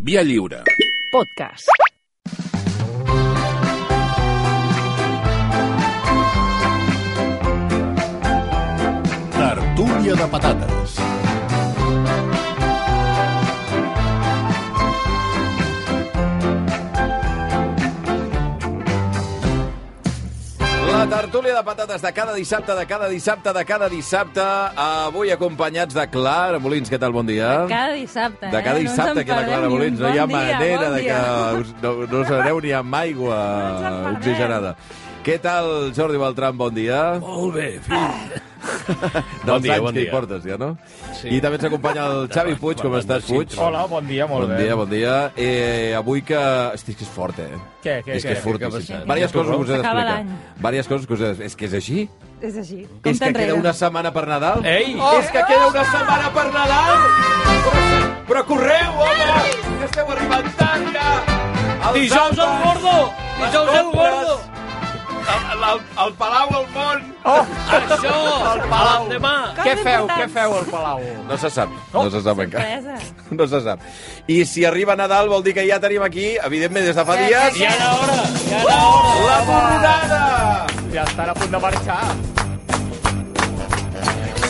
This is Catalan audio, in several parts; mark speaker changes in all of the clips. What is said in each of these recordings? Speaker 1: Via lliure.
Speaker 2: Podcast.
Speaker 3: Tertúlia de patates.
Speaker 4: La tertúlia de patates de cada dissabte, de cada dissabte, de cada dissabte. Avui acompanyats de Clara Molins. Què tal? Bon dia.
Speaker 5: Cada dissabte,
Speaker 4: De cada
Speaker 5: eh?
Speaker 4: dissabte
Speaker 5: no
Speaker 4: que la Clara Molins. No hi ha manera de que
Speaker 5: que...
Speaker 4: us, no, no us aneu ni amb aigua
Speaker 5: ens en perdem.
Speaker 4: oxigenada. Què tal, Jordi Beltran? Bon dia.
Speaker 3: Molt bé, fill.
Speaker 4: Dels
Speaker 3: dia,
Speaker 4: anys
Speaker 3: bon
Speaker 4: que hi
Speaker 3: dia.
Speaker 4: portes, ja, no? I també ens acompanya el Xavi Puig. Com estàs,
Speaker 3: doncs
Speaker 4: Puig?
Speaker 6: Hola, bon dia, molt
Speaker 4: Bon
Speaker 6: bé.
Speaker 4: dia, bon dia. Eh, avui que... Hosti, és que és fort, eh?
Speaker 6: Què, què,
Speaker 4: és que
Speaker 6: què?
Speaker 4: és fortíssim.
Speaker 6: Què
Speaker 4: Vàries coses que us he
Speaker 5: S'acaba
Speaker 4: d'explicar.
Speaker 5: l'any.
Speaker 4: Vàries coses que us he d'explicar. És que Eh, és així?
Speaker 5: És així.
Speaker 4: És
Speaker 5: Compte
Speaker 4: que
Speaker 5: enrere.
Speaker 4: queda una setmana per Nadal?
Speaker 6: Ei!
Speaker 4: Oh, és que queda una setmana per Nadal! Però, però correu, home! Que esteu arribant tard ja! Els
Speaker 6: Dijous el
Speaker 4: àpats,
Speaker 6: gordo!
Speaker 4: les
Speaker 6: Dijous el
Speaker 4: compres,
Speaker 6: gordo!
Speaker 4: El, el, el Palau al món!
Speaker 6: Això! El Palau! Demà!
Speaker 5: Coses
Speaker 6: Què feu,
Speaker 5: importants.
Speaker 6: què feu al Palau?
Speaker 4: No se sap, no se sap encara.
Speaker 5: Oh, Sorpresa.
Speaker 4: No se sap. I si arriba Nadal vol dir que ja tenim aquí, evidentment des de fa
Speaker 5: Ja,
Speaker 4: dies,
Speaker 6: Ja era hora! Ja era hora!
Speaker 4: la borronada!
Speaker 6: Ja estan a punt de marxar.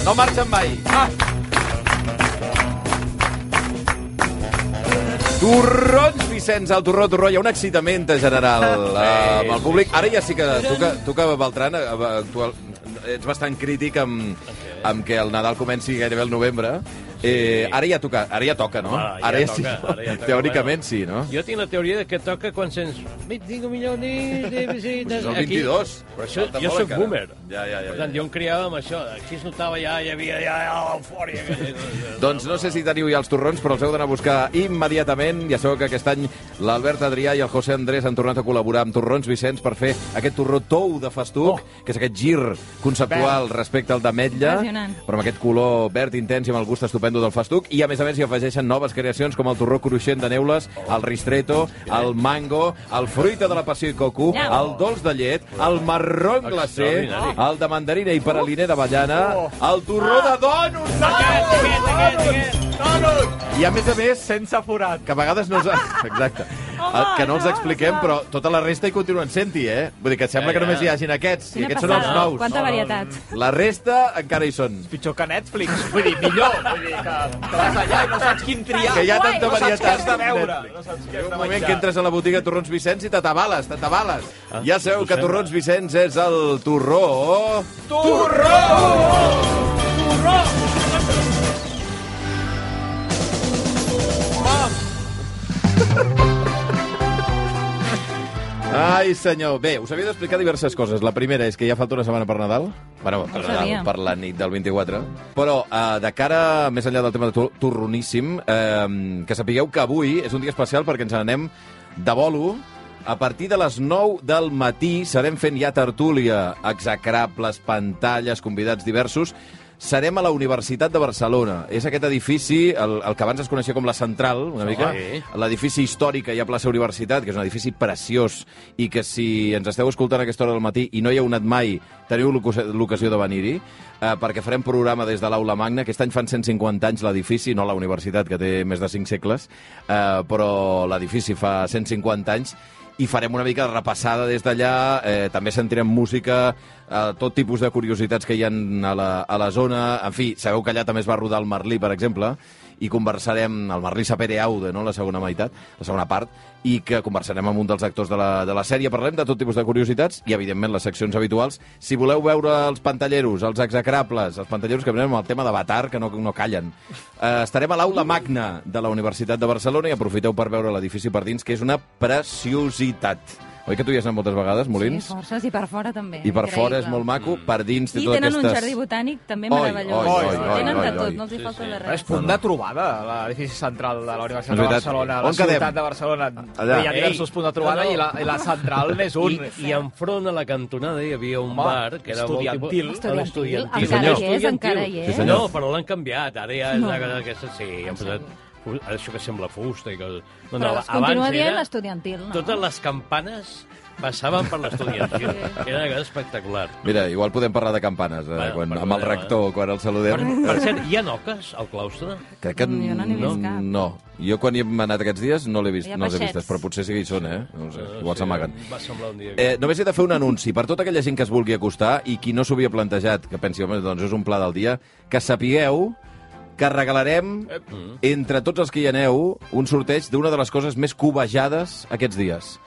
Speaker 4: No marxen mai. Ah. Torrons, Vicenç, el torró, torró. Hi ha un excitament general eh, amb el públic. Ara ja sí que tu que, tu que Beltran, eh, actual, ets bastant crític amb, amb que el Nadal comenci gairebé al novembre. Eh, ara ja toca, ara ja toca, no?
Speaker 7: Home, Ah, ja
Speaker 4: ara
Speaker 7: toca,
Speaker 4: sí,
Speaker 7: ara ja toca.
Speaker 4: teòricament sí, no?
Speaker 7: Jo tinc la teoria de que toca quan sents 25 milions de visites...
Speaker 4: Doncs és el
Speaker 7: aquí.
Speaker 4: 22.
Speaker 7: Però això,
Speaker 4: Falta
Speaker 7: jo
Speaker 4: molt
Speaker 7: sóc
Speaker 4: encara.
Speaker 7: boomer.
Speaker 4: Ja, ja, ja,
Speaker 7: Per tant,
Speaker 4: ja.
Speaker 7: jo em criava amb això. Aquí es notava ja, hi havia ja, ja l'eufòria. que-
Speaker 4: Doncs no sé si teniu ja els torrons, però els heu d'anar a buscar immediatament. Ja sabeu que aquest any l'Albert Adrià i el José Andrés han tornat a col·laborar amb Torrons Vicenç per fer aquest torró tou de festuc, oh. que és aquest gir conceptual respecte al d'ametlla,
Speaker 5: Impressionant.
Speaker 4: però amb aquest color verd intens i amb el gust estupendo del festuc. I, a més a més, hi afegeixen noves creacions com el torró cruixent de neules, el ristretto, el mango, el fruita de la passió i coco,
Speaker 5: Nyam.
Speaker 4: el dolç de llet, el marró en glacé,
Speaker 7: Extraordinari.
Speaker 4: el de mandarina i paraliner d'avellana, el torró de donuts!
Speaker 6: Aquest, aquest, aquest, aquest! Donos!
Speaker 4: I a més a més,
Speaker 6: Sense forat.
Speaker 4: que a vegades no els... Exacte. Home, que no els expliquem, però tota la resta hi continuen sent-hi, eh? Vull dir que sembla
Speaker 7: Ja,
Speaker 4: que
Speaker 7: ja.
Speaker 4: només hi hagin aquests, i
Speaker 5: Quina
Speaker 4: aquests són els
Speaker 5: passada.
Speaker 4: nous.
Speaker 5: Quanta varietat.
Speaker 4: La resta encara hi són.
Speaker 6: Pitjor que Netflix. Vull dir, millor. Vull dir que, que vas allà i no saps quin triar.
Speaker 4: Que hi ha tanta
Speaker 6: no saps què
Speaker 4: varietat.
Speaker 6: has de veure. No saps què
Speaker 4: Hi ha
Speaker 6: has
Speaker 4: un
Speaker 6: de
Speaker 4: moment
Speaker 6: menjar.
Speaker 4: que entres a la botiga Torrons Vicenç i t'atabales, t'atabales.
Speaker 6: Ah,
Speaker 4: Ja sabeu que Torrons Vicenç és el torró...
Speaker 6: Torró! Torró!
Speaker 4: Ai, senyor. Bé, us havia d'explicar diverses coses. La primera és que ja falta una setmana per Nadal. Bueno, per
Speaker 5: Ho
Speaker 4: Nadal,
Speaker 5: sabíem.
Speaker 4: per la nit del 24. Però, eh, de cara, més enllà del tema de tor- torroníssim, eh, que sapigueu que avui és un dia especial perquè ens n'anem de bolo a partir de les 9 del matí serem fent ja tertúlia, execrables, pantalles, convidats diversos. Serem a la Universitat de Barcelona. És aquest edifici, el, el que abans es coneixia com la Central, una mica,
Speaker 7: Sí.
Speaker 4: l'edifici històric que hi ha a plaça Universitat, que és un edifici preciós, i que si ens esteu escoltant a aquesta hora del matí i no hi heu anat mai, teniu l'oca- l'ocasió de venir-hi, eh, perquè farem programa des de l'Aula Magna. Aquest any fan 150 anys l'edifici, no la universitat, que té més de 5 segles, eh, però l'edifici fa 150 anys, i farem una mica de repassada des d'allà, eh, també sentirem música, eh, tot tipus de curiositats que hi ha a la, a la zona, en fi, sabeu que allà també es va rodar el Merlí, per exemple, i conversarem el Merlí Sapere Aude, no? la segona meitat, la segona part, i que conversarem amb un dels actors de la, de la sèrie. Parlem de tot tipus de curiositats i, evidentment, les seccions habituals. Si voleu veure els pantalleros, els execrables, els pantalleros que venen amb el tema d'Avatar, que no, no callen, eh, estarem a l'aula magna de la Universitat de Barcelona i aprofiteu per veure l'edifici per dins, que és una preciositat. Oi que tu hi has anat moltes vegades, Molins?
Speaker 5: Sí, forces, i per fora també.
Speaker 4: I per fora és
Speaker 5: Increïble.
Speaker 4: molt maco, per dins té
Speaker 5: I
Speaker 4: totes
Speaker 5: tenen
Speaker 4: aquestes...
Speaker 5: un jardí botànic també
Speaker 4: Oi,
Speaker 5: meravellós.
Speaker 4: oi, oi,
Speaker 6: oi,
Speaker 5: tenen de
Speaker 4: oi,
Speaker 5: tot,
Speaker 4: oi.
Speaker 5: no els hi falta de
Speaker 6: És
Speaker 5: res.
Speaker 6: punt de trobada, l'edifici central de la Universitat
Speaker 4: És
Speaker 6: de
Speaker 4: veritat.
Speaker 6: Barcelona.
Speaker 4: On
Speaker 6: La
Speaker 4: quedem?
Speaker 6: ciutat de Barcelona
Speaker 4: Allà.
Speaker 6: hi ha diversos
Speaker 7: Ei,
Speaker 6: punts de trobada
Speaker 7: no, no.
Speaker 6: I, la, i la central n'és un.
Speaker 7: I, I enfront a la cantonada hi havia un
Speaker 6: Home,
Speaker 7: bar que era molt...
Speaker 6: estudiantil.
Speaker 7: tipus-
Speaker 5: Estudiantil,
Speaker 7: estudiantil.
Speaker 5: encara
Speaker 4: Sí, senyor.
Speaker 5: hi és, encara hi és.
Speaker 4: Sí, senyor.
Speaker 7: No, però l'han canviat. Ara ja és la cosa aquesta... Sí, han posat fu- això que sembla fusta i coses... No,
Speaker 1: Però es continua
Speaker 7: abans
Speaker 1: dient
Speaker 7: era-
Speaker 1: l'estudiantil, no?
Speaker 7: Totes les campanes passaven per l'estudiantil. Era una cosa espectacular.
Speaker 4: Mira, igual podem parlar de campanes, eh,
Speaker 7: Bueno,
Speaker 4: quan,
Speaker 7: perdoneu,
Speaker 4: amb el rector, quan el saludem.
Speaker 7: Per, per cert, hi ha noques al claustre?
Speaker 4: Crec que
Speaker 5: Mm, jo no n'he vist cap.
Speaker 4: no. Jo quan hi hem anat aquests dies no l'he vist,
Speaker 5: Hi ha
Speaker 4: no les he
Speaker 5: peixets.
Speaker 4: vistes, però potser sí que hi són, eh? No ho sé,
Speaker 7: Ah,
Speaker 4: igual s'amaguen.
Speaker 7: Va semblar un dia... que-
Speaker 4: Eh, només he de fer un anunci per tota aquella gent que es vulgui acostar i qui no s'ho havia plantejat, que pensi, home, doncs és un pla del dia, que sapigueu que regalarem, entre tots els que hi aneu, un sorteig d'una de les coses més cobejades aquests dies.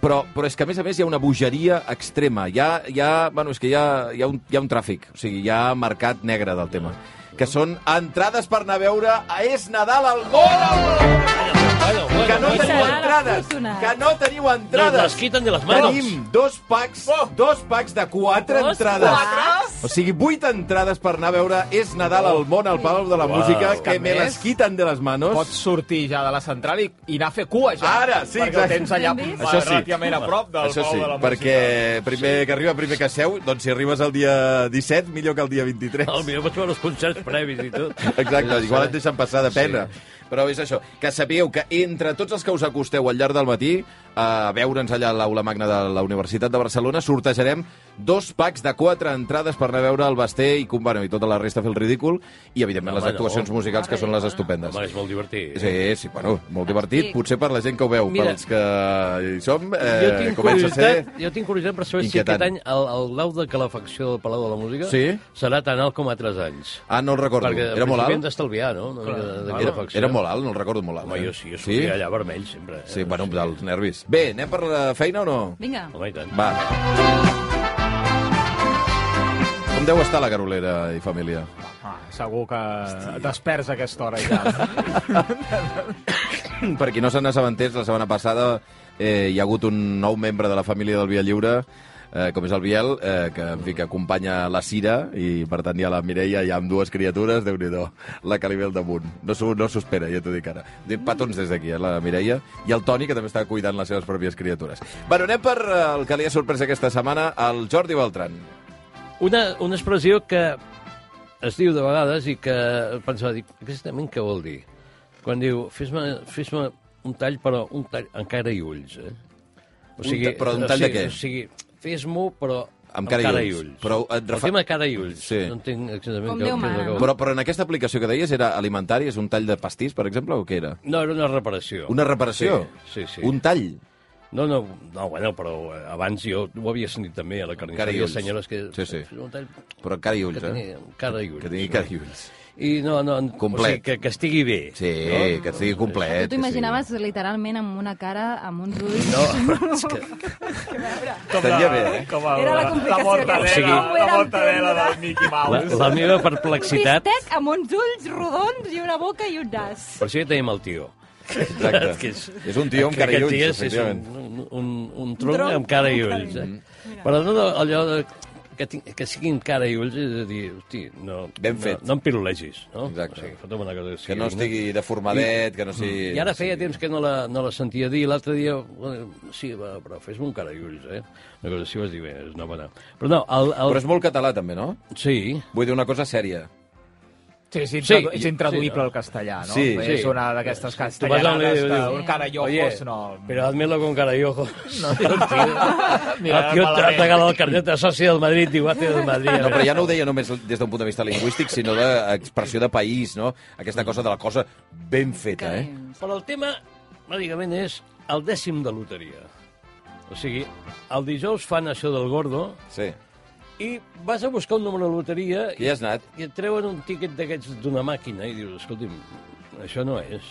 Speaker 4: Però, però és que, a més a més, hi ha una bogeria extrema. Hi ha, hi ha, bueno, és que hi ha, hi, ha un, hi ha un tràfic, o sigui, hi ha mercat negre del tema que són entrades per anar a veure a És Nadal al Gol!
Speaker 7: Bueno, bueno,
Speaker 4: Que no
Speaker 7: bueno,
Speaker 4: teniu
Speaker 7: bueno.
Speaker 4: entrades! Que no teniu
Speaker 7: Ni
Speaker 4: entrades!
Speaker 7: les quiten de les mans.
Speaker 4: Tenim dos packs, dos packs de quatre
Speaker 1: Oh. Dos
Speaker 4: entrades.
Speaker 1: packs?
Speaker 4: O sigui, vuit entrades per anar a veure És Nadal al món al Palau de la Música, que
Speaker 6: Cap
Speaker 4: me
Speaker 6: més?
Speaker 4: les quiten de les manos.
Speaker 6: Pots sortir ja de la central i, i anar a fer cua ja.
Speaker 4: Ara, sí,
Speaker 6: perquè
Speaker 4: exacte.
Speaker 6: ho tens allà
Speaker 5: Ben vist.
Speaker 4: Això sí.
Speaker 6: relativament a prop del
Speaker 4: Això
Speaker 6: Palau
Speaker 4: sí,
Speaker 6: de la
Speaker 4: perquè
Speaker 6: Música.
Speaker 4: primer que arriba, primer que seu, doncs si arribes el dia 17, millor que el dia 23.
Speaker 7: El millor pots veure els concerts previs i tot.
Speaker 4: Exacte, igual et deixen passar de pena. Però és això, que sapigueu que entre tots els que us acosteu al llarg del matí a veure'ns allà a l'aula magna de la Universitat de Barcelona, sortejarem dos packs de quatre entrades per anar a veure el Basté i, com- bueno, i tota la resta a fer el ridícul i, evidentment,
Speaker 7: Home,
Speaker 4: les actuacions
Speaker 7: no.
Speaker 4: musicals, que són les estupendes.
Speaker 7: Ah, Home, és molt divertit. Eh,
Speaker 4: Sí, sí, bueno, molt divertit.
Speaker 5: Fantàstic.
Speaker 4: Potser per la gent que ho veu,
Speaker 7: Mira,
Speaker 4: pels que hi som,
Speaker 7: jo
Speaker 4: eh,
Speaker 7: tinc,
Speaker 4: comença a ser...
Speaker 7: curiositat, jo tinc curiositat per saber
Speaker 4: inquietant.
Speaker 7: si aquest any el, el grau de calefacció del Palau de la Música
Speaker 4: Sí.
Speaker 7: serà tan alt com altres anys.
Speaker 4: Ah, no el recordo.
Speaker 7: Perquè al
Speaker 4: Era molt
Speaker 7: principi hem
Speaker 4: alt?
Speaker 7: d'estalviar, no? Una mica de, de
Speaker 4: Era,
Speaker 7: calefacció.
Speaker 4: era molt alt, no el recordo molt alt.
Speaker 7: Home,
Speaker 4: eh?
Speaker 7: jo sí, jo sortia allà vermell sempre. Eh?
Speaker 4: Sí, bueno, dels nervis. Bé, anem per la feina o no?
Speaker 5: Vinga.
Speaker 7: Home, i tant.
Speaker 4: Va. Com deu estar la Carolera i família?
Speaker 6: Ah, segur que desperts a aquesta hora ja.
Speaker 4: Per qui no se n'assabentés, la setmana passada eh, hi ha hagut un nou membre de la família del Via Lliure, eh, com és el Biel, eh, que, en fi, que acompanya la Cira, i per tant hi ha la Mireia, hi ha amb dues criatures, déu nhi la que li ve al damunt. No s'ho no s'ho espera, ja t'ho dic ara. Dic petons des d'aquí, eh, la Mireia, i el Toni, que també està cuidant les seves pròpies criatures. Bueno, anem per eh, el que li ha sorprès aquesta setmana, el Jordi Beltran.
Speaker 7: Una, una expressió que es diu de vegades i que pensava, dic, exactament què vol dir? Quan diu, fes-me fes un tall, però un tall encara i ulls, eh? O
Speaker 4: Un ta- però un tall
Speaker 7: o
Speaker 4: de
Speaker 7: sigui,
Speaker 4: què?
Speaker 7: O sigui, fes-m'ho, però amb,
Speaker 4: cara i ulls. Però et
Speaker 7: El
Speaker 4: refa-
Speaker 7: tema cara i ulls.
Speaker 4: Sí.
Speaker 7: No entenc exactament
Speaker 5: Com
Speaker 7: què,
Speaker 5: Déu
Speaker 7: què és el
Speaker 5: mana.
Speaker 7: que vol dir.
Speaker 4: Però, però en aquesta aplicació que deies era alimentària, és un tall de pastís, per exemple, o què era?
Speaker 7: No, era una reparació.
Speaker 4: Una reparació?
Speaker 7: Sí, sí. sí.
Speaker 4: Un tall?
Speaker 7: No, no, no, bueno, però eh, abans jo ho havia sentit també a la
Speaker 4: Cara i
Speaker 7: carnisseria,
Speaker 4: ulls.
Speaker 7: senyores que...
Speaker 4: Sí, sí.
Speaker 7: Un tall
Speaker 4: Però cara i ulls,
Speaker 7: que tingui
Speaker 4: eh?
Speaker 7: cara i ulls.
Speaker 4: Que tingui
Speaker 7: no?
Speaker 4: cara i ulls.
Speaker 7: I no, no, en-
Speaker 4: Complet.
Speaker 7: O sigui, que, que estigui bé.
Speaker 4: Sí, que estigui complet.
Speaker 5: Tu t'ho imaginaves literalment amb una cara, amb uns ulls...
Speaker 7: No, és que,
Speaker 4: Estaria bé, eh?
Speaker 6: Com a,
Speaker 5: Era la complicació
Speaker 6: La mortadela,
Speaker 5: que
Speaker 7: sí.
Speaker 6: la,
Speaker 7: No
Speaker 5: ho era
Speaker 6: mortadela
Speaker 5: entendre.
Speaker 6: del Mickey
Speaker 7: la,
Speaker 6: Mouse.
Speaker 7: la meva
Speaker 5: Un
Speaker 7: perplexitat...
Speaker 5: bistec amb uns ulls rodons i una boca i un nas.
Speaker 7: Per això ja tenim el tio.
Speaker 4: Exacte.
Speaker 7: Que és-
Speaker 4: és un tio amb cara i
Speaker 7: Aquest
Speaker 4: ulls,
Speaker 7: dia és un,
Speaker 4: efectivament. Mm.
Speaker 7: un, un, un tronc amb cara i ulls. Eh? Però no no, allò de, que, tinc, que siguin cara i ulls, és a dir, hosti, no,
Speaker 4: Ben
Speaker 7: no,
Speaker 4: fet.
Speaker 7: no em pirulegis. No?
Speaker 4: Exacte.
Speaker 7: O sigui, fotem una cosa que,
Speaker 4: Que
Speaker 7: sigui
Speaker 4: no
Speaker 7: digna.
Speaker 4: estigui deformadet, que no sigui...
Speaker 7: Mm. I ara feia temps que no la, no la sentia dir, l'altre dia, bueno, sí, va, però fes-me un cara i ulls, eh? Una cosa així vas dir, bé, és una bona... Però no, el... el...
Speaker 4: Però és molt català, també, no?
Speaker 7: Sí,
Speaker 4: Vull dir una cosa sèria.
Speaker 6: Sí, és,
Speaker 7: Sí,
Speaker 6: intradu sí, és
Speaker 7: sí,
Speaker 6: intraduïble
Speaker 7: no?
Speaker 6: al castellà, no?
Speaker 4: Sí,
Speaker 6: és
Speaker 7: sí.
Speaker 6: una d'aquestes
Speaker 7: Tu vas on li
Speaker 6: castellanades que
Speaker 7: dius-
Speaker 6: un cara i ojos no...
Speaker 7: Pero házmelo con cara y ojos. No, el tío,
Speaker 6: Mira,
Speaker 7: el tío te ha
Speaker 6: malament.
Speaker 7: regalado el carnet de soci del Madrid, diu, hace del Madrid. eh.
Speaker 4: No, però ja no ho deia només des d'un punt de vista lingüístic, sinó d'expressió de país, no? Aquesta cosa de la cosa ben feta, eh?
Speaker 7: Però el tema, bàsicament, és el dècim de loteria. O sigui, el dijous fan això del gordo
Speaker 4: Sí.
Speaker 7: i vas a buscar un número de loteria
Speaker 4: Qui hi has anat?
Speaker 7: i et treuen un tiquet d'aquests d'una màquina i dius, escolti'm, això no és.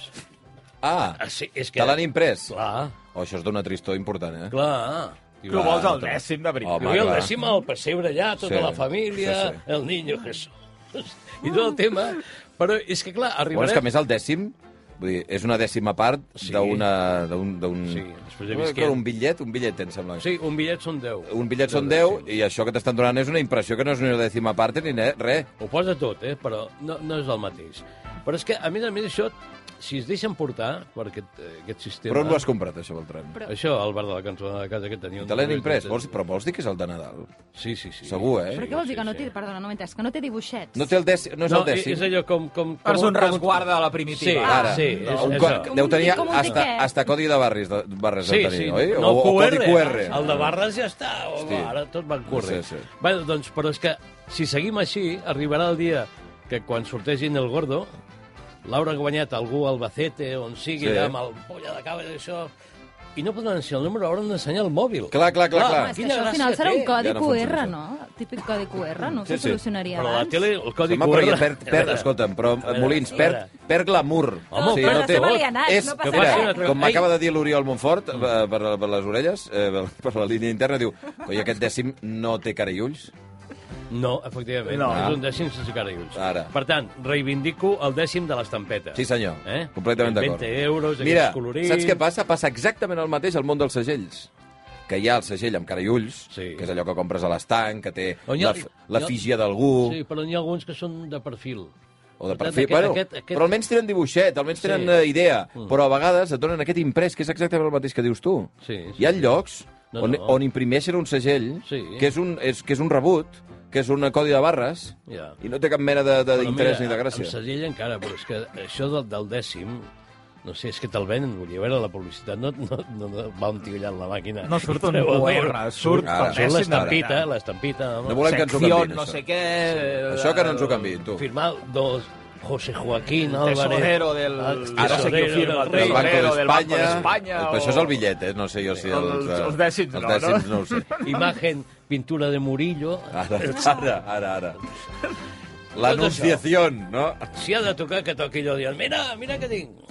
Speaker 4: Ah,
Speaker 7: Ah, sí, és que...
Speaker 4: te l'han imprès?
Speaker 7: Clar,
Speaker 4: Oh, això és d'una tristor important, eh?
Speaker 7: clar.
Speaker 6: Tu vols el dècim, de veritat.
Speaker 4: Home,
Speaker 7: Home, el
Speaker 4: clar.
Speaker 7: dècim al pessebre allà, tota
Speaker 4: Sí,
Speaker 7: sí, la família,
Speaker 4: sí,
Speaker 7: sí,
Speaker 4: sí.
Speaker 7: sí. el niño Jesús, i tot el tema. Però és que, clar,
Speaker 4: Bueno,
Speaker 7: arribarem...
Speaker 4: és que a més el dècim, vull dir, és una dècima part sí.
Speaker 7: Sí.
Speaker 4: d'una... d'un... d'un-
Speaker 7: Sí, després he
Speaker 4: No,
Speaker 7: vist que-
Speaker 4: clar, Un bitllet, un bitllet, em sembla.
Speaker 7: Sí, un bitllet són 10.
Speaker 4: Un bitllet són 10 i això que t'estan donant és una impressió que no és ni una dècima part ni ne- res.
Speaker 7: Ho posa tot, eh? però no, no és el mateix. Però és que, a més a més, això si es deixen portar per aquest, eh, aquest sistema...
Speaker 4: Però on ho has comprat, això, Beltran?
Speaker 5: Però-
Speaker 7: Això, al bar de la cantonada de casa que tenia... un
Speaker 4: Te l'han
Speaker 7: llibre
Speaker 4: imprès,
Speaker 7: de-
Speaker 4: vols, però vols dir que és el de Nadal?
Speaker 7: Sí, sí, sí.
Speaker 4: Segur, eh?
Speaker 5: Però què vols dir que no té... Perdona, no m'he entès, que no té dibuixets?
Speaker 4: No té el dècim, no és
Speaker 7: No,
Speaker 4: el dècim.
Speaker 7: és allò com... com, com
Speaker 6: És un resguard de la primitiva.
Speaker 7: Sí,
Speaker 4: Ara,
Speaker 7: sí, és,
Speaker 4: un
Speaker 7: és
Speaker 4: co-
Speaker 7: això.
Speaker 4: deu tenir
Speaker 5: Com un eh?
Speaker 4: hasta,
Speaker 5: tiquet.
Speaker 4: hasta codi de barris, de, barres
Speaker 7: Sí,
Speaker 4: de tenir,
Speaker 7: sí,
Speaker 4: oi?
Speaker 7: no, eh?
Speaker 4: o, o codi QR.
Speaker 7: El de barres ja està, home,
Speaker 4: Hosti.
Speaker 7: ara tot va en QR.
Speaker 4: Sí, sí.
Speaker 7: Bueno, doncs, però és que si seguim així, arribarà el dia que quan sortegin el gordo, l'haurà guanyat algú al Albacete, on sigui,
Speaker 4: Sí.
Speaker 7: sí. amb el polla de cava i això, i no podran ensenyar el número, hauran d'ensenyar el mòbil.
Speaker 4: Clar, clar, clar,
Speaker 5: Home,
Speaker 4: clar.
Speaker 5: és que
Speaker 7: Quina
Speaker 5: això al
Speaker 7: gràcia
Speaker 5: final serà un
Speaker 7: té.
Speaker 5: codi
Speaker 4: Ja no
Speaker 5: QR,
Speaker 4: funciona
Speaker 5: no? Típic codi QR, no?
Speaker 4: Sí,
Speaker 5: Sí,
Speaker 4: sí.
Speaker 5: sí. solucionaria
Speaker 7: Però la
Speaker 5: abans.
Speaker 7: tele, el
Speaker 4: Se
Speaker 7: codi
Speaker 4: m'ha
Speaker 7: QR...
Speaker 4: perdut, perd, perd, escolta'm, però
Speaker 7: A veure,
Speaker 4: Molins,
Speaker 7: a veure.
Speaker 4: perd, perd glamour.
Speaker 7: Home,
Speaker 5: però
Speaker 7: no té
Speaker 5: estem
Speaker 7: vot.
Speaker 5: alienats,
Speaker 4: és,
Speaker 5: no
Speaker 7: passa
Speaker 4: mira,
Speaker 7: res. Ei.
Speaker 4: com m'acaba de dir l'Oriol Montfort eh, per, per les orelles, eh, per la línia interna, diu, coi, aquest dècim no té cara i ulls.
Speaker 7: No, efectivament, no.
Speaker 6: No.
Speaker 7: és un dècim sense cara i ulls.
Speaker 4: Ara.
Speaker 7: Per tant, reivindico el dècim de l'estampeta.
Speaker 4: Sí, senyor,
Speaker 7: Eh?
Speaker 4: completament d'acord.
Speaker 7: 20 euros,
Speaker 4: Mira,
Speaker 7: aquests colorits...
Speaker 4: saps què passa? Passa exactament el mateix al món dels segells que hi ha el segell amb cara i ulls,
Speaker 7: Sí.
Speaker 4: que és allò que compres a l'estanc, que té
Speaker 7: On hi ha-
Speaker 4: la, f- la
Speaker 7: hi ha-
Speaker 4: fígia d'algú...
Speaker 7: Sí, però n'hi ha alguns que són de perfil.
Speaker 4: O de
Speaker 7: Per tant,
Speaker 4: perfil.
Speaker 7: aquest-
Speaker 4: bueno,
Speaker 7: aquest- aquest-
Speaker 4: Però almenys tenen dibuixet, almenys
Speaker 7: Sí. Mm.
Speaker 4: tenen eh, idea. Però a vegades et donen aquest imprès, que és exactament el mateix que dius tu.
Speaker 7: Sí, sí.
Speaker 4: Hi ha llocs
Speaker 7: No,
Speaker 4: on,
Speaker 7: no.
Speaker 4: on imprimeixen un segell
Speaker 7: Sí.
Speaker 4: que, és un, és, que és un rebut, que és un codi de barres,
Speaker 7: Ja.
Speaker 4: i no té cap mena de- de-
Speaker 7: Però
Speaker 4: d'interès
Speaker 7: mira,
Speaker 4: ni de
Speaker 7: Amb
Speaker 4: gràcia.
Speaker 7: segell encara, però és que això del, del dècim, no sé, és que te'l venen, vull dir, a veure, la publicitat no, no, no, no va un tio allà amb la màquina.
Speaker 6: No surt un
Speaker 7: Treu a veure.
Speaker 6: QR, surt
Speaker 4: Ara,
Speaker 6: per
Speaker 7: Surt
Speaker 6: dècim de
Speaker 7: l'estampita,
Speaker 6: veritat.
Speaker 7: l'estampita. home.
Speaker 4: No volem que ens ho
Speaker 6: Secció,
Speaker 4: canviïn,
Speaker 6: no
Speaker 4: això.
Speaker 6: sé què... eh,
Speaker 4: Això que no ens ho canviïn, tu.
Speaker 7: Firmar dos José Joaquín Álvarez.
Speaker 6: tesorero del-
Speaker 7: Ah,
Speaker 6: Ara sé qui ho
Speaker 7: tesorero
Speaker 6: firma,
Speaker 7: del
Speaker 6: el
Speaker 7: rei.
Speaker 4: Del Banco
Speaker 6: Banco
Speaker 4: d'Espanya...
Speaker 6: d'Espanya,
Speaker 4: Però
Speaker 6: o-
Speaker 4: Això és el bitllet, eh? No sé jo si...
Speaker 6: Els- els dècims,
Speaker 4: els
Speaker 6: no,
Speaker 4: dècims,
Speaker 6: no?
Speaker 4: no ho sé.
Speaker 7: Imagen, pintura de Murillo.
Speaker 4: Ara, ara, ara. ara. L'anunciació, no?
Speaker 7: Si ha de tocar, que toqui allò. Dient, mira, mira que tinc.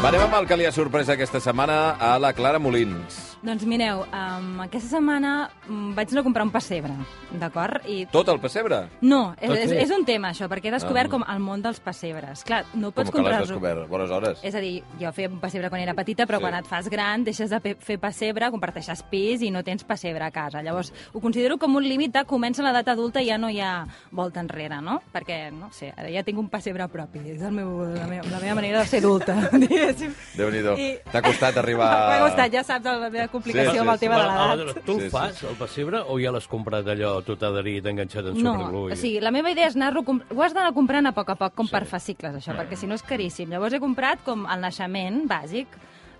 Speaker 4: Va, anem amb el que li ha sorprès aquesta setmana a la Clara Molins.
Speaker 5: Doncs mireu, um, aquesta setmana mm, vaig anar a comprar un pessebre, d'acord? I
Speaker 4: Tot el pessebre?
Speaker 5: No, és,
Speaker 7: Tot
Speaker 5: és,
Speaker 7: bé.
Speaker 5: és un tema, això, perquè he descobert
Speaker 4: Ah.
Speaker 5: com el món dels pessebres. Clar, no
Speaker 4: Com
Speaker 5: pots
Speaker 4: que l'has
Speaker 5: comprar-lo.
Speaker 4: descobert? Bones hores.
Speaker 5: És a dir, jo feia un pessebre quan era petita,
Speaker 4: Sí.
Speaker 5: però sí. quan et fas gran deixes de pe- fer pessebre, comparteixes pis i no tens pessebre a casa. Llavors, ho considero com un límit de comença l'edat adulta i ja no hi ha volta enrere, no? Perquè, no sé, ara ja tinc un pessebre propi. És el meu, la, meva, la meva manera de ser adulta, diguéssim.
Speaker 4: Déu-n'hi-do.
Speaker 5: I-
Speaker 4: T'ha costat arribar...
Speaker 5: M'ha costat, ja saps la meva complicació
Speaker 4: Sí, sí,
Speaker 5: amb el
Speaker 4: sí.
Speaker 5: tema de
Speaker 7: Però,
Speaker 5: l'edat.
Speaker 7: aleshores, Tu
Speaker 4: Sí, sí.
Speaker 7: el fas, el pessebre, o ja l'has comprat allò tot adherit, enganxat en
Speaker 5: No,
Speaker 7: superglue? i-
Speaker 5: o sigui, la meva idea és anar-lo... comp- Ho has d'anar comprant a poc a poc, com sí. per fascicles, això, perquè si no és caríssim. Llavors he comprat com el naixement bàsic,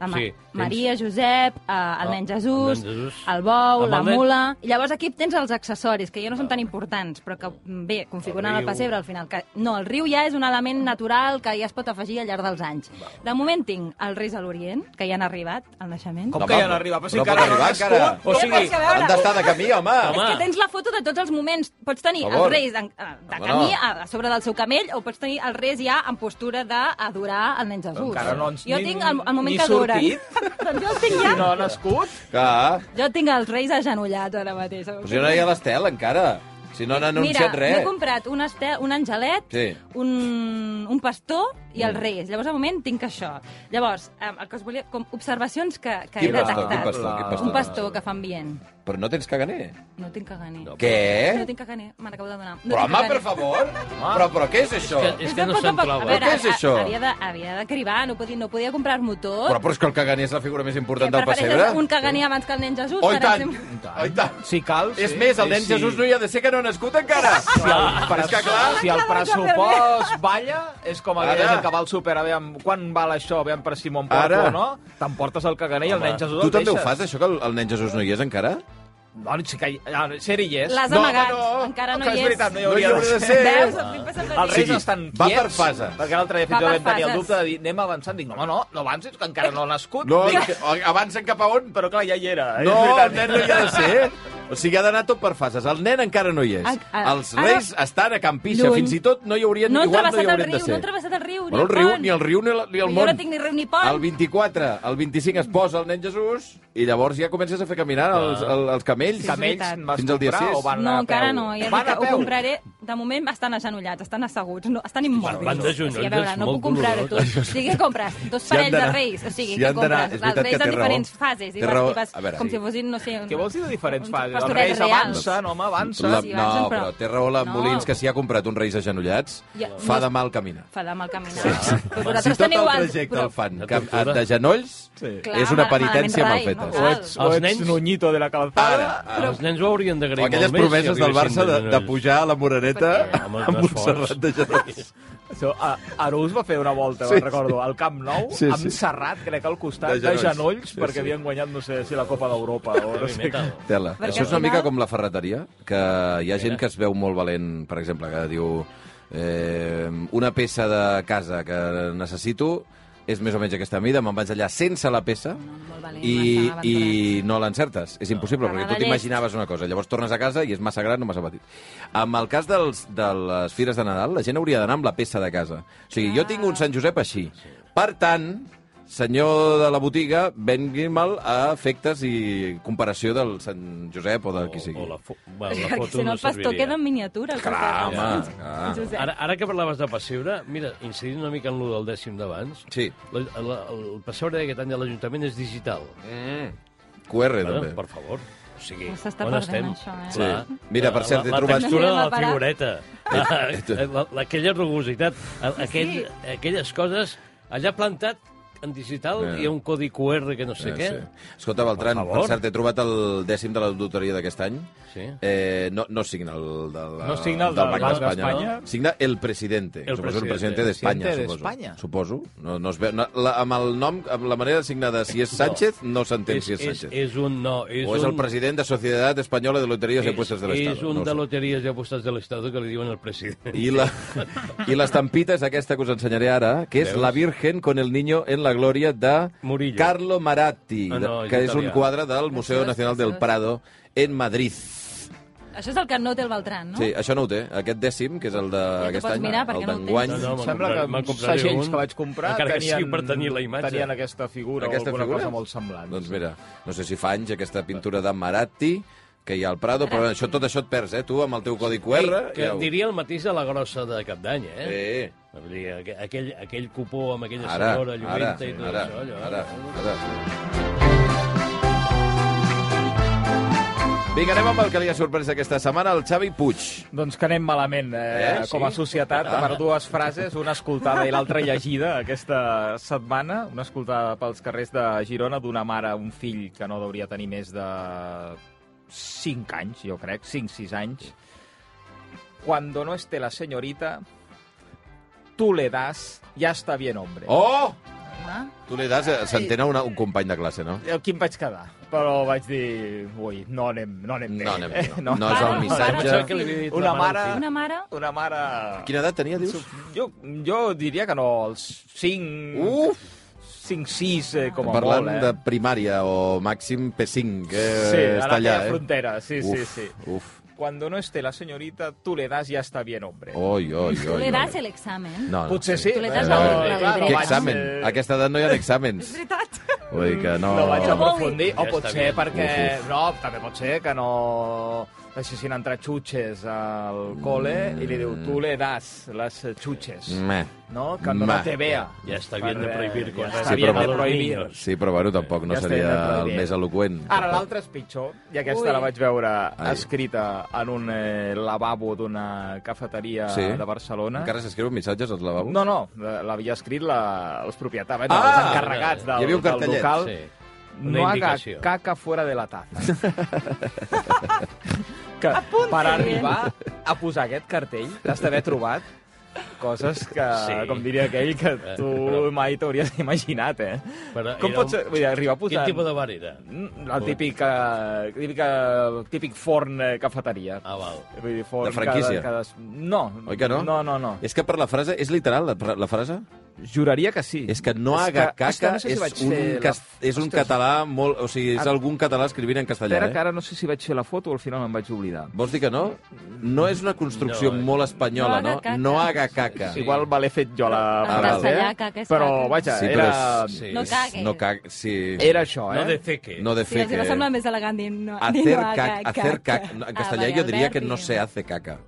Speaker 5: la Ma
Speaker 7: Sí,
Speaker 5: sí,
Speaker 7: tens-
Speaker 5: Maria, Josep, eh, el
Speaker 7: Ah,
Speaker 5: nen Jesús,
Speaker 7: el nen Jesús.
Speaker 5: el bou,
Speaker 7: Amb
Speaker 5: la
Speaker 7: el nen- Ah.
Speaker 5: mula... I llavors aquí tens els accessoris, que ja no són tan importants, però que, mm, bé, configurant
Speaker 7: El
Speaker 5: el,
Speaker 7: riu.
Speaker 5: pessebre, al final... Que... No, el riu ja és un element natural que ja es pot afegir al llarg dels anys. De moment tinc els Reis a l'Orient, que ja han arribat, al naixement.
Speaker 6: Com
Speaker 4: No,
Speaker 6: que ja
Speaker 4: home,
Speaker 6: n'arriba? Però si
Speaker 4: no
Speaker 6: encara
Speaker 4: pot arribar,
Speaker 6: nascut.
Speaker 4: encara.
Speaker 6: O
Speaker 5: Què
Speaker 6: sigui,
Speaker 5: vols que
Speaker 4: Han d'estar de camí, home!
Speaker 7: Home.
Speaker 5: És que tens la foto de tots els moments. Pots tenir
Speaker 4: Per
Speaker 5: els
Speaker 4: Ah. favor.
Speaker 5: reis en, eh, de
Speaker 4: Home,
Speaker 5: camí
Speaker 4: no.
Speaker 5: a, a sobre del seu camell o pots tenir els reis ja en postura d'adorar el nen Jesús.
Speaker 6: Encara no ens-
Speaker 5: jo
Speaker 6: ni-
Speaker 5: tinc el, el moment
Speaker 6: ni
Speaker 5: que adoren.
Speaker 6: sortit.
Speaker 5: doncs jo els tinc
Speaker 6: si
Speaker 5: ja.
Speaker 6: no ha nascut...
Speaker 4: Clar,
Speaker 5: Jo tinc els reis agenollats ara mateix.
Speaker 4: però si no hi ha l'estel, encara. Si no n'ha anunciat
Speaker 5: Mira, m'he
Speaker 4: res.
Speaker 5: comprat un, estel, un angelet,
Speaker 4: Sí. Mm.
Speaker 5: un, un pastor i els reis. Llavors, de moment, tinc això. Llavors, eh, el que us volia... Com observacions que, que he
Speaker 4: Quin pastor,
Speaker 5: detectat.
Speaker 4: quin pastor, quin pastor?
Speaker 5: Un pastor que fa ambient.
Speaker 4: Però no tens caganer.
Speaker 5: No tinc caganer. No.
Speaker 4: Què?
Speaker 5: No tinc caganer, me n'acabo de donar. No
Speaker 4: Però,
Speaker 5: tinc
Speaker 4: home,
Speaker 5: caganer.
Speaker 4: per favor! Però, però què és això?
Speaker 7: És que- és que no
Speaker 5: a poc a
Speaker 7: se'n
Speaker 5: poc.
Speaker 7: troba.
Speaker 5: A veure,
Speaker 4: Però què és
Speaker 5: ha-
Speaker 4: això?
Speaker 5: Havia de, havia de cribar, no podia, no podia comprar-m'ho tot.
Speaker 4: Però, però és que el caganer és la figura més important del
Speaker 5: prefereixes
Speaker 4: pessebre.
Speaker 5: un caganer abans que el nen Jesús,
Speaker 4: Oh, i
Speaker 5: per
Speaker 4: tant!
Speaker 5: exemple.
Speaker 4: Oh, i tant!
Speaker 6: Si cal, sí.
Speaker 4: És més, el nen
Speaker 6: Sí, sí.
Speaker 4: Jesús no hi ha de ser que no ha nascut encara!
Speaker 6: Si el,
Speaker 4: És que clar...
Speaker 6: si el pressupost balla, és com aquella
Speaker 4: Ara.
Speaker 6: gent que va al súper, a veure, quan val això, a veure, per Simon Porto,
Speaker 4: Ara.
Speaker 6: no? T'emportes el caganer i el nen Jesús el
Speaker 4: Tu també ho
Speaker 6: deixes.
Speaker 4: fas, eh? això, que el, el nen Jesús no hi és encara?
Speaker 6: No, sí que hi, ah, ser hi és.
Speaker 5: L'has
Speaker 4: No,
Speaker 5: amagat,
Speaker 4: home, no.
Speaker 5: encara no
Speaker 6: que
Speaker 5: hi
Speaker 6: és
Speaker 5: és.
Speaker 6: veritat, no hi
Speaker 4: No hi
Speaker 6: hauria
Speaker 4: hauria de
Speaker 6: de ser.
Speaker 4: ser.
Speaker 5: Veus? Em estic passant de
Speaker 6: Els reis
Speaker 4: Sí,
Speaker 5: llit.
Speaker 6: estan
Speaker 4: va
Speaker 6: quiets.
Speaker 4: per fases.
Speaker 6: Perquè l'altre
Speaker 5: Va
Speaker 6: dia fins i tot
Speaker 5: per
Speaker 6: vam tenir el
Speaker 5: fases.
Speaker 6: dubte de dir anem avançant. Dic, no, home, no, no avancis, que encara no ha nascut.
Speaker 4: No,
Speaker 6: Dic,
Speaker 4: avancen cap a on?
Speaker 6: però clar, ja hi era. eh?
Speaker 4: No,
Speaker 6: És
Speaker 4: el
Speaker 6: veritat.
Speaker 4: nen no hi ha de ser. O sigui, ha d'anar tot per fases. El nen encara no hi és.
Speaker 5: A- a-
Speaker 4: Els
Speaker 5: Ah, ara-
Speaker 4: reis estan a Campixa.
Speaker 5: Lluny.
Speaker 4: Fins i tot no hi haurien,
Speaker 5: No han
Speaker 4: igual no
Speaker 5: travessat
Speaker 4: hi
Speaker 5: el
Speaker 4: haurien
Speaker 5: riu,
Speaker 4: de
Speaker 5: no
Speaker 4: ser.
Speaker 5: han travessat el riu, ni
Speaker 4: Bueno,
Speaker 5: el
Speaker 4: el riu,
Speaker 5: pont.
Speaker 4: ni el riu ni, la, ni el
Speaker 5: Jo
Speaker 4: món.
Speaker 5: no tinc ni riu ni pont.
Speaker 4: El 24, el 25 es posa el nen Jesús i llavors ja comences a fer caminar els, els, els camells.
Speaker 5: Sí,
Speaker 6: Camells
Speaker 5: veritat.
Speaker 6: vas
Speaker 4: Fins al dia
Speaker 6: comprar
Speaker 4: sis.
Speaker 6: o van
Speaker 5: No,
Speaker 6: anar a peu?
Speaker 5: encara no. Ja dic
Speaker 6: Van
Speaker 5: que
Speaker 6: a
Speaker 5: ho
Speaker 6: peu.
Speaker 5: compraré de moment estan agenollats, estan asseguts, no, estan immòbils.
Speaker 7: Van de
Speaker 5: o sigui, a
Speaker 7: genolls,
Speaker 5: veure,
Speaker 7: és
Speaker 5: no
Speaker 7: molt
Speaker 5: puc comprar-ho tot.
Speaker 4: dolorós.
Speaker 5: O sigui, què compres? Dos
Speaker 4: Si han
Speaker 5: parells de
Speaker 4: d'anar-
Speaker 5: reis. O sigui,
Speaker 4: si
Speaker 5: què
Speaker 4: han d'anar-
Speaker 5: compres?
Speaker 4: és
Speaker 5: Els
Speaker 4: veritat
Speaker 5: reis
Speaker 4: que té
Speaker 5: en diferents
Speaker 4: raó.
Speaker 5: fases. I
Speaker 4: Té
Speaker 5: vas,
Speaker 4: raó.
Speaker 5: i vas
Speaker 4: A veure,
Speaker 5: com
Speaker 4: sí.
Speaker 5: si fossin, no sé... Un...
Speaker 6: Què vols dir de diferents
Speaker 5: Un
Speaker 6: fases? Els
Speaker 5: pastoret
Speaker 6: reis
Speaker 5: real.
Speaker 6: avancen, home, avancen.
Speaker 4: La,
Speaker 5: Sí,
Speaker 4: no,
Speaker 5: avancen,
Speaker 4: però
Speaker 5: però-
Speaker 4: té raó la
Speaker 5: No.
Speaker 4: Molins, que si ha comprat un Reis agenollats,
Speaker 5: Ja,
Speaker 4: fa
Speaker 5: no-
Speaker 4: de mal caminar.
Speaker 5: Fa de mal caminar. Sí, sí.
Speaker 4: Si tot el trajecte el fan
Speaker 7: La
Speaker 4: que,
Speaker 7: tortura.
Speaker 4: de genolls,
Speaker 6: Sí.
Speaker 4: és una penitència mal feta.
Speaker 6: O ets, o
Speaker 7: Els
Speaker 6: ets
Speaker 7: nens-
Speaker 6: nuñito de la calzada.
Speaker 7: Ah, Els nens ho haurien
Speaker 4: O
Speaker 7: d'agrair molt més.
Speaker 4: aquelles promeses
Speaker 7: si
Speaker 4: del Barça de, de
Speaker 7: arribessin
Speaker 4: pujar a la Moreneta
Speaker 7: Perquè- Home,
Speaker 4: amb
Speaker 7: no és
Speaker 4: Montserrat
Speaker 7: fort.
Speaker 4: de genolls.
Speaker 6: Això, a, Arús va fer una volta,
Speaker 4: Sí,
Speaker 6: sí, recordo, al Camp Nou,
Speaker 4: Sí,
Speaker 6: sí,
Speaker 4: sí.
Speaker 6: amb Serrat, crec, al costat,
Speaker 4: De
Speaker 6: de
Speaker 4: genolls.
Speaker 6: genolls, de genolls
Speaker 4: Sí, sí.
Speaker 6: perquè havien guanyat, no sé, si la Copa d'Europa o no sé què.
Speaker 7: Metal.
Speaker 4: Tela.
Speaker 5: Perquè
Speaker 4: Això és
Speaker 5: al
Speaker 4: una mica
Speaker 5: final-
Speaker 4: com la ferreteria, que hi ha gent que es veu molt valent, per exemple, que diu eh, una peça de casa que necessito és més o menys aquesta mida, me'n vaig allà sense la peça
Speaker 5: molt valent,
Speaker 4: i,
Speaker 5: bastant
Speaker 4: i
Speaker 5: aventurat.
Speaker 4: no l'encertes. És impossible,
Speaker 5: Anava
Speaker 4: perquè tu
Speaker 5: llest.
Speaker 4: t'imaginaves una cosa, llavors tornes a casa i és massa gran o massa petit. Amb el cas dels, de les fires de Nadal, la gent hauria d'anar amb la peça de casa. O sigui, jo tinc un Sant Josep així. Per tant, senyor de la botiga, vengui'm-el a efectes i comparació del Sant Josep o de qui sigui.
Speaker 7: O la, fo bueno, la
Speaker 5: Perquè
Speaker 7: foto
Speaker 5: si no
Speaker 7: no
Speaker 5: el pastor
Speaker 7: serviria.
Speaker 5: queda en miniatura. el
Speaker 4: Clar,
Speaker 5: pastor.
Speaker 4: home, clar.
Speaker 5: Josep.
Speaker 7: Ara, ara que parlaves de pessebre, mira, incidint una mica en lo del dècim d'abans,
Speaker 4: Sí.
Speaker 7: la, la, el pessebre d'aquest any de l'Ajuntament és digital.
Speaker 4: QR,
Speaker 7: Bueno,
Speaker 4: també.
Speaker 7: per favor. O sigui,
Speaker 5: Ho s'està
Speaker 7: on
Speaker 5: perdent,
Speaker 7: estem?
Speaker 5: això, eh?
Speaker 7: Clar.
Speaker 4: Sí. Mira, per cert, he
Speaker 7: la, la, la
Speaker 4: trobat-
Speaker 7: textura de
Speaker 5: Anirem a
Speaker 7: la
Speaker 5: parar.
Speaker 7: figureta,
Speaker 4: Eh,
Speaker 7: La- la- aquella rugositat, a- aquell, aquelles coses allà plantat en digital
Speaker 4: Eh.
Speaker 7: hi ha un codi QR que no sé
Speaker 4: Eh,
Speaker 7: què.
Speaker 4: sí. Escolta, Beltran,
Speaker 7: Per
Speaker 4: per,
Speaker 7: favor.
Speaker 4: cert, he trobat el dècim de la loteria d'aquest any.
Speaker 7: Sí.
Speaker 4: Eh, no, no signa el, de la,
Speaker 6: No signa el
Speaker 4: del Banc
Speaker 6: del Banc
Speaker 4: d'Espanya.
Speaker 6: d'Espanya.
Speaker 4: Signa el presidente.
Speaker 7: El
Speaker 4: suposo, el
Speaker 7: presidente.
Speaker 4: presidente d'Espanya,
Speaker 6: Presidente
Speaker 4: suposo.
Speaker 6: d'Espanya.
Speaker 4: Suposo. No, no es veu, no, la, amb el nom, amb la manera de signar de si és Sánchez, no s'entén
Speaker 7: És,
Speaker 4: si és
Speaker 7: és,
Speaker 4: Sánchez.
Speaker 7: és un... No, és
Speaker 4: o és
Speaker 7: un,
Speaker 4: el president de Societat Espanyola de Loteries i Apuestas de l'Estat.
Speaker 7: És un
Speaker 4: no ho
Speaker 7: de
Speaker 4: sé.
Speaker 7: loteries i apostes de l'Estat que li diuen el president.
Speaker 4: I, la, I l'estampita és aquesta que us ensenyaré ara, que és
Speaker 7: Veus?
Speaker 4: La Virgen con el Niño en la Glòria de
Speaker 7: Murillo.
Speaker 4: Carlo Maratti,
Speaker 7: Ah, no,
Speaker 4: de-
Speaker 7: és
Speaker 4: que és
Speaker 7: italià.
Speaker 4: un quadre del Museu
Speaker 5: Graciós,
Speaker 4: Nacional del
Speaker 5: graciós.
Speaker 4: Prado en Madrid.
Speaker 5: Això és el que no té el Beltran, no?
Speaker 4: Sí, això no ho té. Aquest dècim, que és el d'aquest
Speaker 5: pots
Speaker 4: any,
Speaker 5: mirar
Speaker 4: el
Speaker 5: perquè no ho tens.
Speaker 4: d'enguany,
Speaker 5: No, no,
Speaker 7: me'n
Speaker 6: Sembla
Speaker 7: compraré-
Speaker 6: que
Speaker 7: me'n compraré
Speaker 6: segells
Speaker 7: un,
Speaker 6: que vaig comprar
Speaker 7: encara que
Speaker 6: tenien,
Speaker 7: sigui per tenir la imatge.
Speaker 6: tenien aquesta figura
Speaker 4: Aquesta
Speaker 6: o alguna
Speaker 4: figura?
Speaker 6: cosa molt semblant.
Speaker 4: Doncs mira, no sé si fa anys aquesta pintura de Maratti, que hi ha al Prado, però això, tot això et perds, eh? Tu, amb el teu codi QR...
Speaker 7: que
Speaker 4: ja ho-
Speaker 7: diria el mateix de la grossa de Cap d'Any, eh?
Speaker 4: Eh,
Speaker 7: Vull dir, aqu- Aquell, aquell cupó amb aquella
Speaker 4: ara,
Speaker 7: senyora
Speaker 4: ara,
Speaker 7: lluita i tot
Speaker 4: ara,
Speaker 7: això. Allò,
Speaker 4: ara,
Speaker 6: eh?
Speaker 4: ara. Vinga, anem amb el que li ha sorprès aquesta setmana, el Xavi Puig.
Speaker 6: Doncs que anem malament, eh,
Speaker 4: Eh,
Speaker 6: eh com a
Speaker 4: sí?
Speaker 6: societat,
Speaker 4: Ah.
Speaker 6: per dues frases, una escoltada i l'altra llegida aquesta setmana. Una escoltada pels carrers de Girona d'una mare, a un fill que no hauria de tenir més de 5 anys, jo crec, 5-6 anys. Cuando no esté la señorita, tú le das, ya está bien, hombre.
Speaker 4: Oh!
Speaker 5: Ah.
Speaker 4: Tu li das, eh, s'entén a una, un company de classe, no?
Speaker 6: El Quim Eh, vaig quedar, però vaig dir... Ui, no anem, no anem bé.
Speaker 4: No anem bé, no.
Speaker 6: Eh,
Speaker 4: No és el missatge.
Speaker 7: Pensava que li havia dit
Speaker 6: Una
Speaker 7: la
Speaker 6: mare...
Speaker 7: mare al
Speaker 5: Una mare...
Speaker 6: Una mare...
Speaker 4: Quina edat tenia, dius?
Speaker 6: Jo, jo diria que no, els 5...
Speaker 4: Uf!
Speaker 6: 5, 6, eh, com a
Speaker 4: Parlant
Speaker 6: molt, eh?
Speaker 4: de primària o màxim P5, que
Speaker 6: Sí, a
Speaker 4: està
Speaker 6: la
Speaker 4: allà,
Speaker 6: teva
Speaker 4: eh?
Speaker 6: frontera, sí, sí,
Speaker 4: uf,
Speaker 6: sí.
Speaker 4: Uf,
Speaker 6: Cuando no esté la señorita, tú le das, ya está bien, hombre.
Speaker 4: Oi, oi, oi.
Speaker 5: Tu li
Speaker 4: oi.
Speaker 5: das l'examen.
Speaker 4: No, no.
Speaker 6: Potser sí.
Speaker 5: Tu le
Speaker 4: A
Speaker 5: das
Speaker 6: eh,
Speaker 5: la-
Speaker 6: no,
Speaker 5: la-
Speaker 6: eh,
Speaker 5: la-
Speaker 6: clar,
Speaker 5: la-
Speaker 6: no
Speaker 4: Què
Speaker 6: vaig,
Speaker 4: examen?
Speaker 6: eh,
Speaker 4: A aquesta edat no hi ha exàmens.
Speaker 5: veritat.
Speaker 4: Vull dir que no...
Speaker 6: No vaig
Speaker 5: No.
Speaker 6: aprofundir, o
Speaker 7: Ja
Speaker 6: pot
Speaker 7: està
Speaker 6: ser
Speaker 7: bé.
Speaker 6: perquè...
Speaker 4: Uf,
Speaker 6: No, també pot ser que no deixessin entrar xutxes al col·le i li diu, tu le das les xutxes.
Speaker 4: Meh.
Speaker 6: No? Que no
Speaker 4: Mm. Ma.
Speaker 6: te vea.
Speaker 7: Ja està bien de
Speaker 6: Per, eh,
Speaker 7: prohibir
Speaker 6: ja
Speaker 7: coses.
Speaker 6: està
Speaker 4: Sí,
Speaker 6: bien
Speaker 4: però-
Speaker 6: de prohibir.
Speaker 4: Sí, però bueno, tampoc no
Speaker 6: Ja estem
Speaker 4: seria
Speaker 6: d'acord,
Speaker 4: el
Speaker 6: bé.
Speaker 4: més eloqüent.
Speaker 6: Ara, l'altra és pitjor, i aquesta
Speaker 5: Ui.
Speaker 6: Ui. la vaig veure
Speaker 4: Ai.
Speaker 6: Ai. escrita en un eh, lavabo d'una cafeteria
Speaker 4: Sí.
Speaker 6: de Barcelona.
Speaker 4: Encara s'escriuen missatges als lavabos?
Speaker 6: No, no, eh, l'havia escrit la, els propietaris, bueno,
Speaker 4: Ah!
Speaker 6: els encarregats
Speaker 4: Hi
Speaker 6: del,
Speaker 4: havia un
Speaker 6: del
Speaker 4: cartellet,
Speaker 6: local.
Speaker 7: Sí. Una
Speaker 6: No haga
Speaker 7: indicació.
Speaker 6: caca fuera de la taza. que, per arribar a posar aquest cartell t'has d'haver trobat coses que, sí.
Speaker 7: Sí. Eh,
Speaker 6: com diria aquell, que
Speaker 7: però-
Speaker 6: tu mai t'hauries imaginat, eh?
Speaker 7: Però
Speaker 6: com
Speaker 7: era
Speaker 6: pot
Speaker 7: un-
Speaker 6: ser... Vull dir, arribar a
Speaker 7: Quin
Speaker 6: posar...
Speaker 7: tipus de bar era?
Speaker 6: Mm, El típic, eh, típica, típic forn eh, cafeteria.
Speaker 7: Ah, val.
Speaker 6: Vull dir, forn
Speaker 4: De franquícia.
Speaker 6: Cada, cada... No.
Speaker 4: Oi que no? Eh,
Speaker 6: No, no, no.
Speaker 4: És que per la frase... És literal, la, la frase?
Speaker 6: Juraria que sí.
Speaker 4: És que no
Speaker 6: És
Speaker 4: haga
Speaker 6: que- és que
Speaker 4: caca
Speaker 6: no sé si
Speaker 4: és,
Speaker 6: vaig
Speaker 4: un,
Speaker 6: fer la-
Speaker 4: cas, és un
Speaker 6: Ostres.
Speaker 4: català molt... O sigui, és
Speaker 6: Ara-
Speaker 4: algun català escrivint en castellà,
Speaker 6: Espera, que
Speaker 4: eh?
Speaker 6: ara no sé si vaig fer la foto o al final me'n vaig oblidar.
Speaker 4: Vols dir que no? No és una construcció
Speaker 6: eh.
Speaker 7: No.
Speaker 4: molt espanyola,
Speaker 5: No
Speaker 4: no?
Speaker 5: haga caca.
Speaker 4: No haga caca.
Speaker 7: Sí.
Speaker 6: Igual me l'he fet jo la...
Speaker 5: En
Speaker 6: frase,
Speaker 5: castellà,
Speaker 6: eh?
Speaker 5: caca és
Speaker 6: Però,
Speaker 5: caca.
Speaker 6: vaja,
Speaker 4: Ah, Sí,
Speaker 6: era...
Speaker 4: però és-
Speaker 7: sí.
Speaker 5: No
Speaker 4: és-
Speaker 5: cagues.
Speaker 4: No caga, sí.
Speaker 6: Era això, eh?
Speaker 7: No de ceque.
Speaker 4: No de
Speaker 5: Sí,
Speaker 4: fer
Speaker 5: els
Speaker 4: que...
Speaker 5: va semblar més elegant dir no, dir
Speaker 4: Hacer
Speaker 5: no haga
Speaker 4: caca, hacer caca. No, En
Speaker 5: Ah,
Speaker 4: castellà
Speaker 5: vale,
Speaker 4: yo diría
Speaker 5: Alberti.
Speaker 4: que no se hace caca.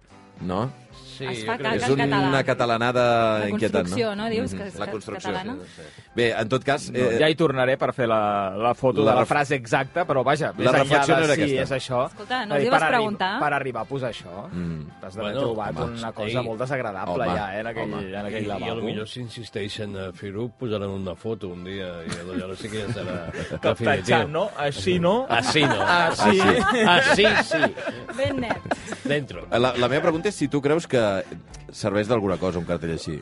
Speaker 4: no?
Speaker 7: Sí,
Speaker 5: Es
Speaker 7: jo
Speaker 5: fa
Speaker 7: crec
Speaker 5: que-
Speaker 4: És
Speaker 5: en català.
Speaker 4: una catalanada
Speaker 5: La
Speaker 4: inquietant, no?
Speaker 5: construcció, no? Dius
Speaker 4: Mhm.
Speaker 5: que és
Speaker 4: La construcció.
Speaker 5: catalana?
Speaker 4: Bé, en tot cas...
Speaker 6: No, ja hi tornaré per fer la, la foto
Speaker 4: Eh, La
Speaker 6: la de la
Speaker 4: ref-
Speaker 6: frase exacta, però vaja, més
Speaker 4: La
Speaker 6: enllà
Speaker 4: reflexió
Speaker 6: de
Speaker 4: no era
Speaker 6: si
Speaker 4: aquesta.
Speaker 6: és això...
Speaker 5: Escolta, no
Speaker 6: vull
Speaker 5: us hi
Speaker 6: dir,
Speaker 5: vas
Speaker 6: per arri-
Speaker 5: preguntar?
Speaker 6: Per arribar a posar això,
Speaker 4: Mm.
Speaker 6: t'has d'haver
Speaker 7: Bueno,
Speaker 6: trobat
Speaker 7: home,
Speaker 6: una cosa
Speaker 7: ei,
Speaker 6: molt desagradable
Speaker 4: home,
Speaker 6: ja, eh, en aquell,
Speaker 4: home.
Speaker 6: en aquell
Speaker 7: I, I a lo
Speaker 6: lavabo.
Speaker 7: millor si insisteixen a fer-ho, posaran una foto un dia i a lo- llavors sí que ja serà
Speaker 6: Captatxant,
Speaker 7: definitiu.
Speaker 6: no? Així no?
Speaker 7: Així no.
Speaker 6: Així.
Speaker 7: Així sí.
Speaker 5: Ben net.
Speaker 7: Dentro.
Speaker 4: La, la meva pregunta és si tu creus que serveix d'alguna cosa un cartell així.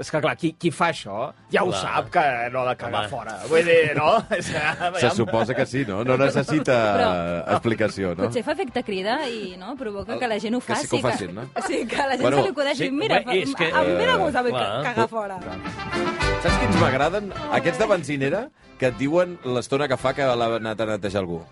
Speaker 6: És que, clar, qui, qui fa això ja ho
Speaker 7: Clar.
Speaker 6: sap que no ha de cagar
Speaker 7: Home.
Speaker 6: fora. Vull dir, no? És que,
Speaker 4: Se
Speaker 6: aviam.
Speaker 4: suposa que sí, no? No necessita
Speaker 5: Però-
Speaker 4: explicació, no?
Speaker 5: Potser fa efecte crida i no, provoca que la gent ho
Speaker 4: Que sí
Speaker 5: faci.
Speaker 4: que ho facin, no?
Speaker 5: Sí, que la gent
Speaker 4: Bueno,
Speaker 5: se li acudeixi.
Speaker 7: sí,
Speaker 5: mira,
Speaker 7: bé, és que-
Speaker 5: fa- a- mira com s'ha
Speaker 7: Clar.
Speaker 5: cagar fora.
Speaker 4: Saps quins m'agraden? Aquests de benzinera que et diuen l'estona que fa que l'ha anat a netejar algú.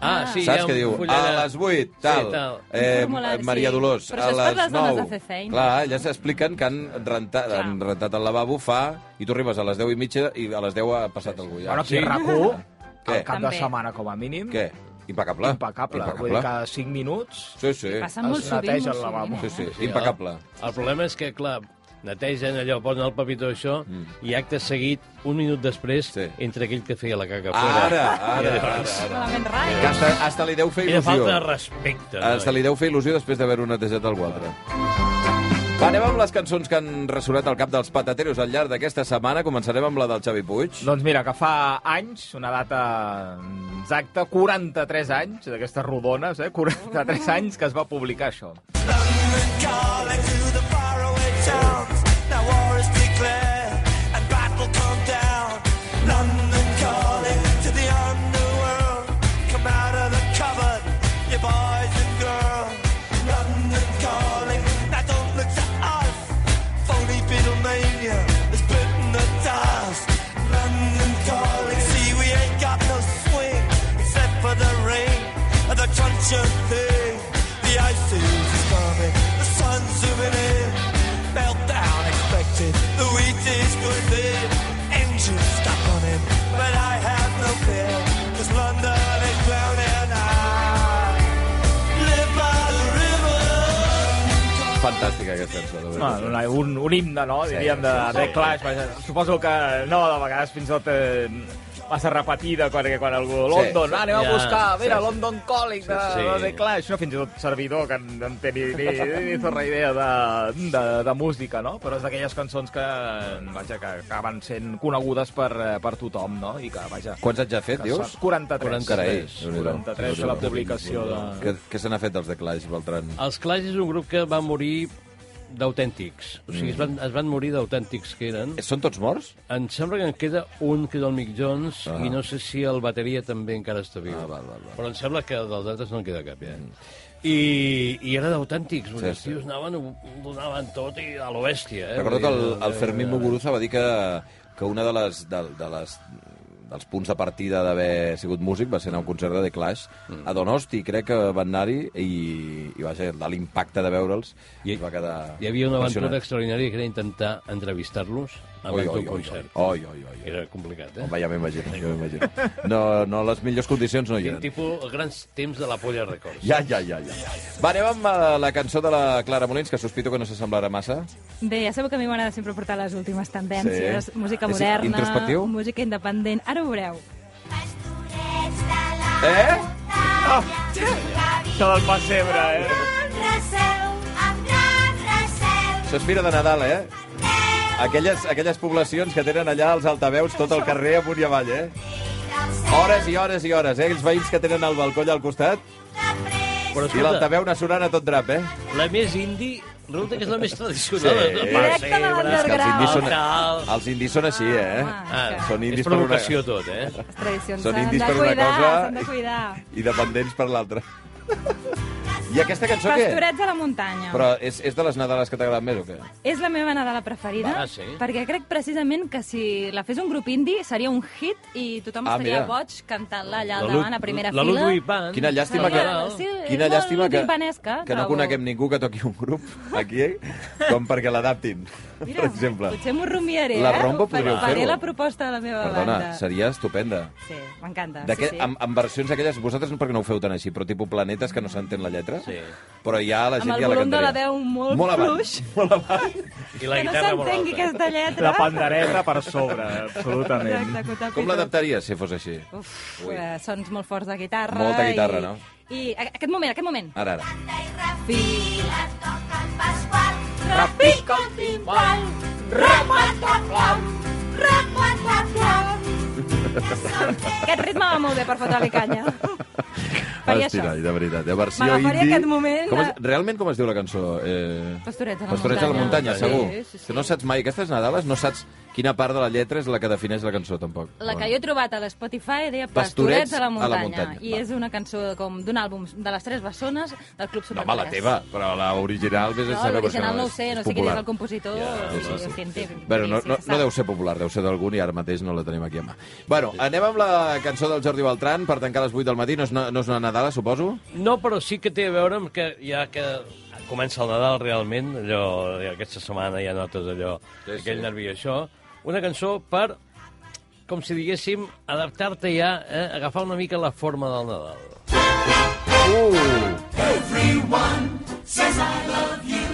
Speaker 7: Ah, sí, hi
Speaker 4: Saps
Speaker 7: ha
Speaker 4: què
Speaker 7: un
Speaker 4: diu?
Speaker 7: full
Speaker 4: A
Speaker 7: de-
Speaker 4: les 8, tal.
Speaker 7: tal.
Speaker 4: Eh,
Speaker 5: Un formulari,
Speaker 4: Maria
Speaker 5: sí.
Speaker 4: Dolors,
Speaker 5: Però
Speaker 4: a
Speaker 5: això és per
Speaker 4: les
Speaker 5: les dones
Speaker 4: 9.
Speaker 5: de fer feina.
Speaker 4: Clar, ja s'expliquen que han rentat,
Speaker 5: Clar.
Speaker 4: han rentat el lavabo fa... I tu arribes a les 10 i mitja i a les 10 ha passat algú ja.
Speaker 6: Bueno, aquí
Speaker 4: Sí.
Speaker 6: a RAC1,
Speaker 4: Què?
Speaker 6: al cap de
Speaker 5: També.
Speaker 6: setmana, com a mínim,
Speaker 4: Què? Impecable.
Speaker 6: impecable. Vull dir, cada 5 minuts...
Speaker 4: Sí, sí.
Speaker 5: Passa molt
Speaker 6: Es
Speaker 5: sovint,
Speaker 6: neteja
Speaker 5: molt sovint.
Speaker 6: el lavabo.
Speaker 4: Sí,
Speaker 5: eh?
Speaker 4: sí, impecable.
Speaker 7: El problema és que, clar, netegen allò, posen el papitó això, mm. i acte seguit, un minut després,
Speaker 4: Sí.
Speaker 7: sí. entre aquell que feia la caca fora.
Speaker 4: Ara, ara,
Speaker 7: I
Speaker 4: ara.
Speaker 7: llavors-
Speaker 5: Malament
Speaker 4: Que
Speaker 5: rai.
Speaker 4: hasta, hasta li deu fer
Speaker 7: Quina
Speaker 4: il·lusió.
Speaker 7: falta de respecte.
Speaker 4: Hasta li deu fer il·lusió després d'haver-ho netejat algú altre. Va, anem amb les cançons que han ressonat al cap dels patateros al llarg d'aquesta setmana. Començarem amb la del Xavi Puig.
Speaker 6: Doncs mira, que fa anys, una data exacta, 43 anys, d'aquestes rodones, eh? 43 anys que es va publicar això.
Speaker 1: Calling to the faraway towns. Now war is declared and battle come down. London calling to the underworld. Come out of the cupboard, you boys and girls. London calling. Now don't look to us. Phony Beatlemania is bitten the dust. London calling. See, we ain't got no swing except for the rain and the crunch of things. The ice is coming, the sun's zooming in. Meltdown expected, the wheat is good lead. Engines stuck on him, but I have no fear. Cause London is drowning. I live by the river.
Speaker 4: Fantàstica aquesta cançó. de
Speaker 6: No,
Speaker 4: veritat.
Speaker 7: Ah,
Speaker 6: una, Ah, un, un himne, no?, diríem, de, de Clash. Vaja, suposo que no, de vegades fins i tot eh, massa repetida, quan, quan algú... London, ah, anem
Speaker 7: Ja,
Speaker 6: a buscar, mira,
Speaker 7: sí, sí.
Speaker 6: London Calling, de,
Speaker 7: Sí, sí.
Speaker 6: de Clash. No, fins i tot servidor, que no en té ni, ni, ni zorra idea de, de, de música, no? Però és d'aquelles cançons que, vaja, que acaben sent conegudes per, eh, per tothom, no? I que, vaja...
Speaker 4: Quants anys ha fet,
Speaker 6: que
Speaker 4: dius?
Speaker 6: sap- 43.
Speaker 4: Carai,
Speaker 6: 43,
Speaker 4: déu-n'hi-do.
Speaker 6: 43 de la publicació de...
Speaker 4: Què, què se n'ha fet dels de Clash, Beltran?
Speaker 7: Els Clash és un grup que va morir d'autèntics. O sigui, es,
Speaker 4: Mm.
Speaker 7: van, es van morir d'autèntics que eren.
Speaker 4: Són tots morts?
Speaker 7: Em sembla que en queda un, que és el Mick Jones, ah. i no sé si el bateria també encara està viu.
Speaker 4: Ah, val, val, val.
Speaker 7: Però em sembla que dels altres no en queda cap, ja. I, i era d'autèntics, sí,
Speaker 4: Sí,
Speaker 7: els
Speaker 4: sí.
Speaker 7: tios anaven, ho donaven tot i a l'oèstia. Eh?
Speaker 4: Recordo que
Speaker 7: Vull dir,
Speaker 4: el, el Fermín Muguruza va dir que, que una de les, de, de les, dels punts de partida d'haver sigut músic va ser anar a un concert de The Clash
Speaker 7: Mm.
Speaker 4: a Donosti, crec que van anar-hi i, i vaja, de l'impacte de veure'ls
Speaker 7: I-
Speaker 4: es va quedar
Speaker 7: Hi havia una aventura
Speaker 4: impressionat.
Speaker 7: extraordinària que era intentar entrevistar-los
Speaker 4: Oi, oi,
Speaker 7: abans d'un
Speaker 4: oi,
Speaker 7: concert.
Speaker 4: Oi, oi, oi. oi.
Speaker 7: Era complicat, eh?
Speaker 4: Home, ja m'imagino, ja m'imagino. No, no, les millors condicions no hi
Speaker 7: Quin
Speaker 4: eren.
Speaker 7: tipus, els grans temps de la polla records.
Speaker 4: Ja, ja, ja, ja. Va, anem amb eh, la cançó de la Clara Molins, que sospito que no s'assemblarà massa.
Speaker 5: Bé, ja sabeu que a mi m'agrada sempre portar les últimes tendències.
Speaker 4: Sí.
Speaker 5: Música
Speaker 4: És
Speaker 5: moderna,
Speaker 4: introspectiu?
Speaker 5: música independent. Ara ho veureu.
Speaker 2: Pastorets de la
Speaker 4: Eh?
Speaker 8: Ah.
Speaker 6: Això del pessebre, eh?
Speaker 2: Gran recel, amb gran recel,
Speaker 4: Això és Fira de Nadal, eh? Aquelles, aquelles poblacions que tenen allà els altaveus tot el carrer amunt i avall, eh?
Speaker 2: del cel
Speaker 8: Oh.
Speaker 4: Hores i hores i hores, eh? Els veïns que tenen el balcó allà al costat
Speaker 2: de pressa.
Speaker 7: Però
Speaker 4: i
Speaker 7: escolta,
Speaker 4: l'altaveu anar sonant a tot drap, eh?
Speaker 7: la més indie resulta que és la més
Speaker 4: Sí.
Speaker 7: tradicional.
Speaker 5: Directe de
Speaker 4: És que els indis són,
Speaker 7: Tal.
Speaker 4: els indis són així, eh?
Speaker 5: Ah,
Speaker 7: Ah,
Speaker 4: Són
Speaker 7: és
Speaker 4: indis per una...
Speaker 7: provocació tot, eh?
Speaker 5: Les tradicions
Speaker 4: Són
Speaker 5: s'han
Speaker 4: indis
Speaker 5: de
Speaker 4: per una
Speaker 5: cuidar,
Speaker 4: cosa
Speaker 5: s'han de cuidar.
Speaker 4: i dependents per l'altra. I aquesta cançó què?
Speaker 5: Pastorets a la muntanya.
Speaker 4: Però és, és de les Nadales que t'agraden més o què?
Speaker 5: És la meva Nadala preferida,
Speaker 6: Ah,
Speaker 7: Va, sí.
Speaker 5: perquè crec precisament que si la fes un grup indie seria un hit i tothom
Speaker 4: Ah,
Speaker 5: estaria
Speaker 4: mira.
Speaker 5: boig cantant-la allà al
Speaker 7: La Lud-
Speaker 5: davant, a primera
Speaker 7: la
Speaker 5: fila.
Speaker 7: Ludwig Van.
Speaker 4: Quina llàstima
Speaker 5: Sí,
Speaker 4: que...
Speaker 5: Nadal, sí, és
Speaker 4: quina
Speaker 5: molt
Speaker 4: llàstima que,
Speaker 5: timpanesca,
Speaker 4: que no
Speaker 5: trobo.
Speaker 4: coneguem ningú que toqui un grup aquí, eh? com perquè l'adaptin, per exemple.
Speaker 5: Potser m'ho rumiaré,
Speaker 4: La
Speaker 5: eh?
Speaker 4: Rombo
Speaker 5: Faré-
Speaker 4: podríeu fer-ho.
Speaker 5: Faré la proposta de la meva
Speaker 4: Perdona,
Speaker 5: banda.
Speaker 4: seria estupenda.
Speaker 5: Sí, m'encanta.
Speaker 4: D'aquest-
Speaker 5: sí, sí.
Speaker 4: amb, amb versions aquelles, vosaltres no perquè no ho feu tan així, però tipus planetes que no s'entén la lletra, alta, sí. però ja la gent
Speaker 5: Amb el
Speaker 4: ja la
Speaker 5: volum de
Speaker 4: cantaria.
Speaker 5: la veu molt,
Speaker 4: Molt avall.
Speaker 5: fluix,
Speaker 6: I la
Speaker 5: que no
Speaker 6: guitarra molt
Speaker 5: s'entengui
Speaker 6: alta.
Speaker 5: aquesta lletra.
Speaker 6: La pandereta per sobre, absolutament.
Speaker 5: Exacte, que ho tapi
Speaker 4: Com
Speaker 5: tot.
Speaker 4: l'adaptaries, si fos així?
Speaker 5: Uf, eh, sons molt forts de guitarra.
Speaker 4: Molta guitarra,
Speaker 5: i,
Speaker 4: no?
Speaker 5: I a- aquest moment, aquest moment.
Speaker 4: Ara, ara.
Speaker 8: Banda i refila, toca el Pasqual, repica el timbal, requatraplam, requatraplam.
Speaker 5: Aquest ritme va molt bé per fotre-li canya. Faria
Speaker 4: Hosti,
Speaker 5: això.
Speaker 4: noi, de veritat. De versió
Speaker 5: M'agafaria
Speaker 4: indie.
Speaker 5: aquest moment
Speaker 4: Com
Speaker 5: de-
Speaker 4: és, realment com es diu la cançó? Eh...
Speaker 5: Pastorets a la
Speaker 4: Pastorets a la
Speaker 5: muntanya.
Speaker 4: muntanya, segur.
Speaker 5: Sí, sí, sí.
Speaker 4: Que no saps mai, aquestes Nadales, no saps quina part de la lletra és la que defineix la cançó, tampoc.
Speaker 5: La que
Speaker 4: Bueno.
Speaker 5: jo he trobat a l'Spotify deia
Speaker 4: Pastorets
Speaker 5: Pastorets a la
Speaker 4: a la
Speaker 5: muntanya.
Speaker 4: muntanya,
Speaker 5: I
Speaker 4: va.
Speaker 5: és una cançó com d'un àlbum de les tres bessones del Club
Speaker 4: No,
Speaker 5: Super
Speaker 4: home, la teva, però l'original vés a
Speaker 5: No,
Speaker 4: saber.
Speaker 5: l'original
Speaker 4: perquè
Speaker 5: no ho sé, no sé quin
Speaker 4: popular.
Speaker 5: és el compositor.
Speaker 4: Ja,
Speaker 5: o
Speaker 4: sí,
Speaker 5: sigui,
Speaker 4: sí.
Speaker 5: en fi, en fi,
Speaker 4: Bueno, no,
Speaker 5: sí,
Speaker 4: no,
Speaker 5: se sap.
Speaker 4: no deu ser popular, deu ser d'algun i ara mateix no la tenim aquí a mà. Bueno, anem amb la cançó del Jordi Beltran per tancar a les 8 del matí. No és, una- no és una Nadala, suposo?
Speaker 7: No, però sí que té a veure amb que ja que comença el Nadal realment, allò, aquesta setmana ja notes allò,
Speaker 4: Sí,
Speaker 7: sí,
Speaker 4: sí.
Speaker 7: aquell nervi i això, una cançó per, com si diguéssim, adaptar-te ja, eh, agafar una mica la forma del Nadal.
Speaker 4: Uh!
Speaker 2: Everyone says I love you.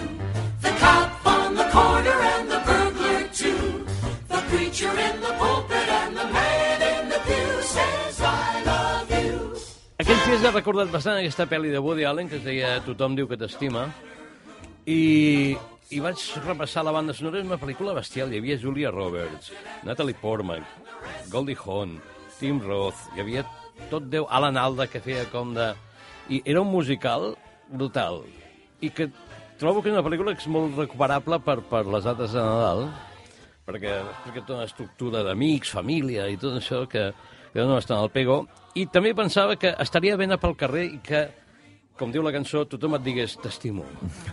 Speaker 2: The cop on the corner and the burglar too. The preacher in the pulpit and the man in the pew says I love you.
Speaker 7: Aquells dies he recordat bastant aquesta pel·li de Woody Allen que es deia Tothom diu que t'estima i, i vaig repassar la banda sonora és una pel·lícula bestial, hi havia Julia Roberts Natalie Portman Goldie Hawn, Tim Roth hi havia tot Déu, Alan Alda que feia com de... i era un musical brutal i que trobo que és una pel·lícula que és molt recuperable per, per les dates de Nadal perquè, perquè té una estructura d'amics, família i tot això que, que no està en el pego. I també pensava que estaria ben a pel carrer i que, com diu la cançó, tothom et digués t'estimo.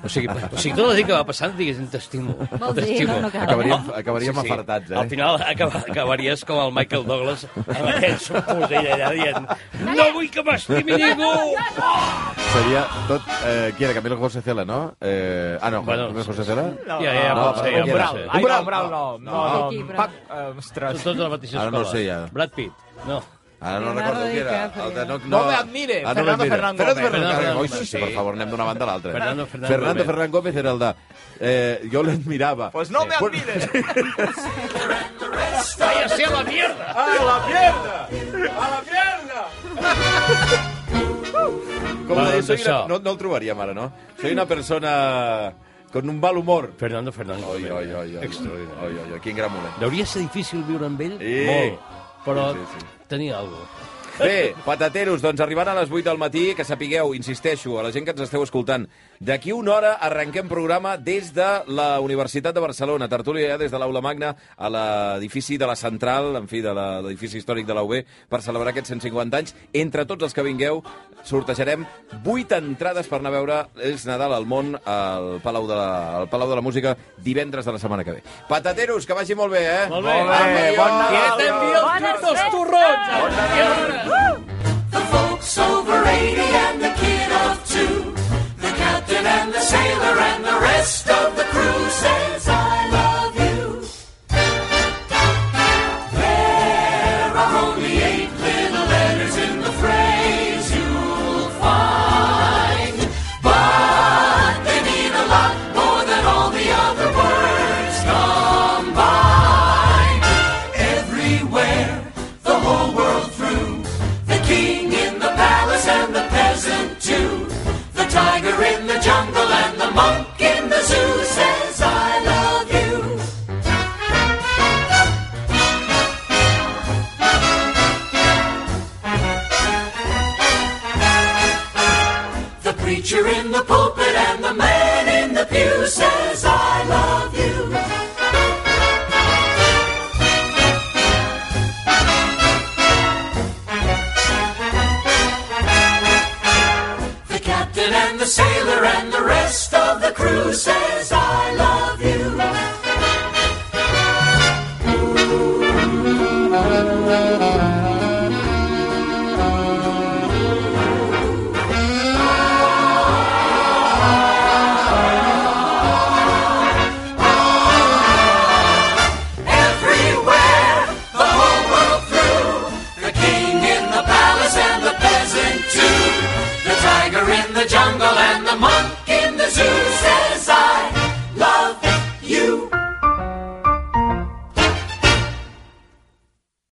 Speaker 7: O sigui, o sigui tot el dia que va passant et diguessin t'estimo.
Speaker 5: Vols dir,
Speaker 7: t'estimo".
Speaker 5: no, no cal.
Speaker 4: Acabaríem, acabaríem sí, sí. afartats, eh?
Speaker 7: Al final acaba, acabaries com el Michael Douglas amb aquest subfusell allà dient no vull que m'estimi ningú!
Speaker 4: Seria tot... Eh, qui era? Camilo José Cela, no? Eh, ah, no,
Speaker 7: Bueno,
Speaker 4: Camilo José Cela?
Speaker 7: Ja, ja, ja,
Speaker 4: No,
Speaker 7: pot ser, ja, pot
Speaker 6: Umbral.
Speaker 7: ser.
Speaker 6: Ai,
Speaker 4: Umbral,
Speaker 6: no, Umbral no. No,
Speaker 5: Qui,
Speaker 6: no.
Speaker 5: Umbral?
Speaker 6: Pac, eh, ostres.
Speaker 7: Són tots de la mateixa
Speaker 4: Ara
Speaker 7: escola.
Speaker 4: no ho sé, ja.
Speaker 7: Brad Pitt. No.
Speaker 4: Ara no
Speaker 5: Leonardo
Speaker 4: recordo qui era.
Speaker 5: DiCaprio.
Speaker 4: El de no, no,
Speaker 6: me admire,
Speaker 4: Ah,
Speaker 6: Fernando
Speaker 4: m'admire.
Speaker 6: Fernán
Speaker 4: Fernando
Speaker 6: Gómez.
Speaker 4: Fernán
Speaker 7: Fernando
Speaker 4: Gómez. Oi, sí,
Speaker 7: Gómez,
Speaker 4: sí, per
Speaker 7: sí.
Speaker 4: favor, anem d'una banda a l'altra.
Speaker 7: Fernando Fernán
Speaker 4: Fernando
Speaker 7: Gómez.
Speaker 4: Fernán Gómez era el de... Eh, jo l'admirava.
Speaker 6: Pues no me
Speaker 4: Bueno,
Speaker 6: admires.
Speaker 7: Vaya sea la mierda!
Speaker 6: A la mierda! A la mierda!
Speaker 4: Com
Speaker 7: Va,
Speaker 4: deia,
Speaker 7: doncs
Speaker 4: soy una...
Speaker 7: això.
Speaker 4: no, no el trobaríem ara, no? Soy una persona con un mal humor.
Speaker 7: Fernando Fernán
Speaker 4: Oi,
Speaker 7: Gómez.
Speaker 4: oi, oi, oi.
Speaker 7: Extraordinari.
Speaker 4: Oi, oi, oi, quin gran moment.
Speaker 7: Deuria ser difícil viure amb ell,
Speaker 4: Eh.
Speaker 7: molt, però
Speaker 4: Sí,
Speaker 7: sí,
Speaker 4: sí,
Speaker 7: sí,
Speaker 4: sí.
Speaker 7: tenia alguna
Speaker 4: Bé, patateros, doncs arribant a les 8 del matí, que sapigueu, insisteixo, a la gent que ens esteu escoltant, d'aquí una hora arrenquem programa des de la Universitat de Barcelona. Tertúlia ja des de l'Aula Magna a l'edifici de la Central, en fi, de la- l'edifici històric de la UB, per celebrar aquests 150 anys. Entre tots els que vingueu, sortejarem 8 entrades per anar a veure Els Nadal al món al Palau de la, al Palau de la Música divendres de la setmana que ve. Patateros, que vagi molt bé, eh?
Speaker 7: Molt bé.
Speaker 6: Molt bé, bon Nadal.
Speaker 7: Te envio
Speaker 5: Bones
Speaker 7: dos
Speaker 5: festes!
Speaker 7: turrons! Bona
Speaker 2: The folks over 80 and the kid of two. The captain and the sailor and the rest of the crew says I love you. There are only eight little letters in the phrase you'll find. But they mean a lot more than all the other words combined. Everywhere, the whole world through. The king in the palace and the peasant too. The tiger in the jungle and the monk in the zoo says, I love you. The preacher in the pulpit and the man in the pew says, I love you. The captain and the sailor and the rest of the crew says,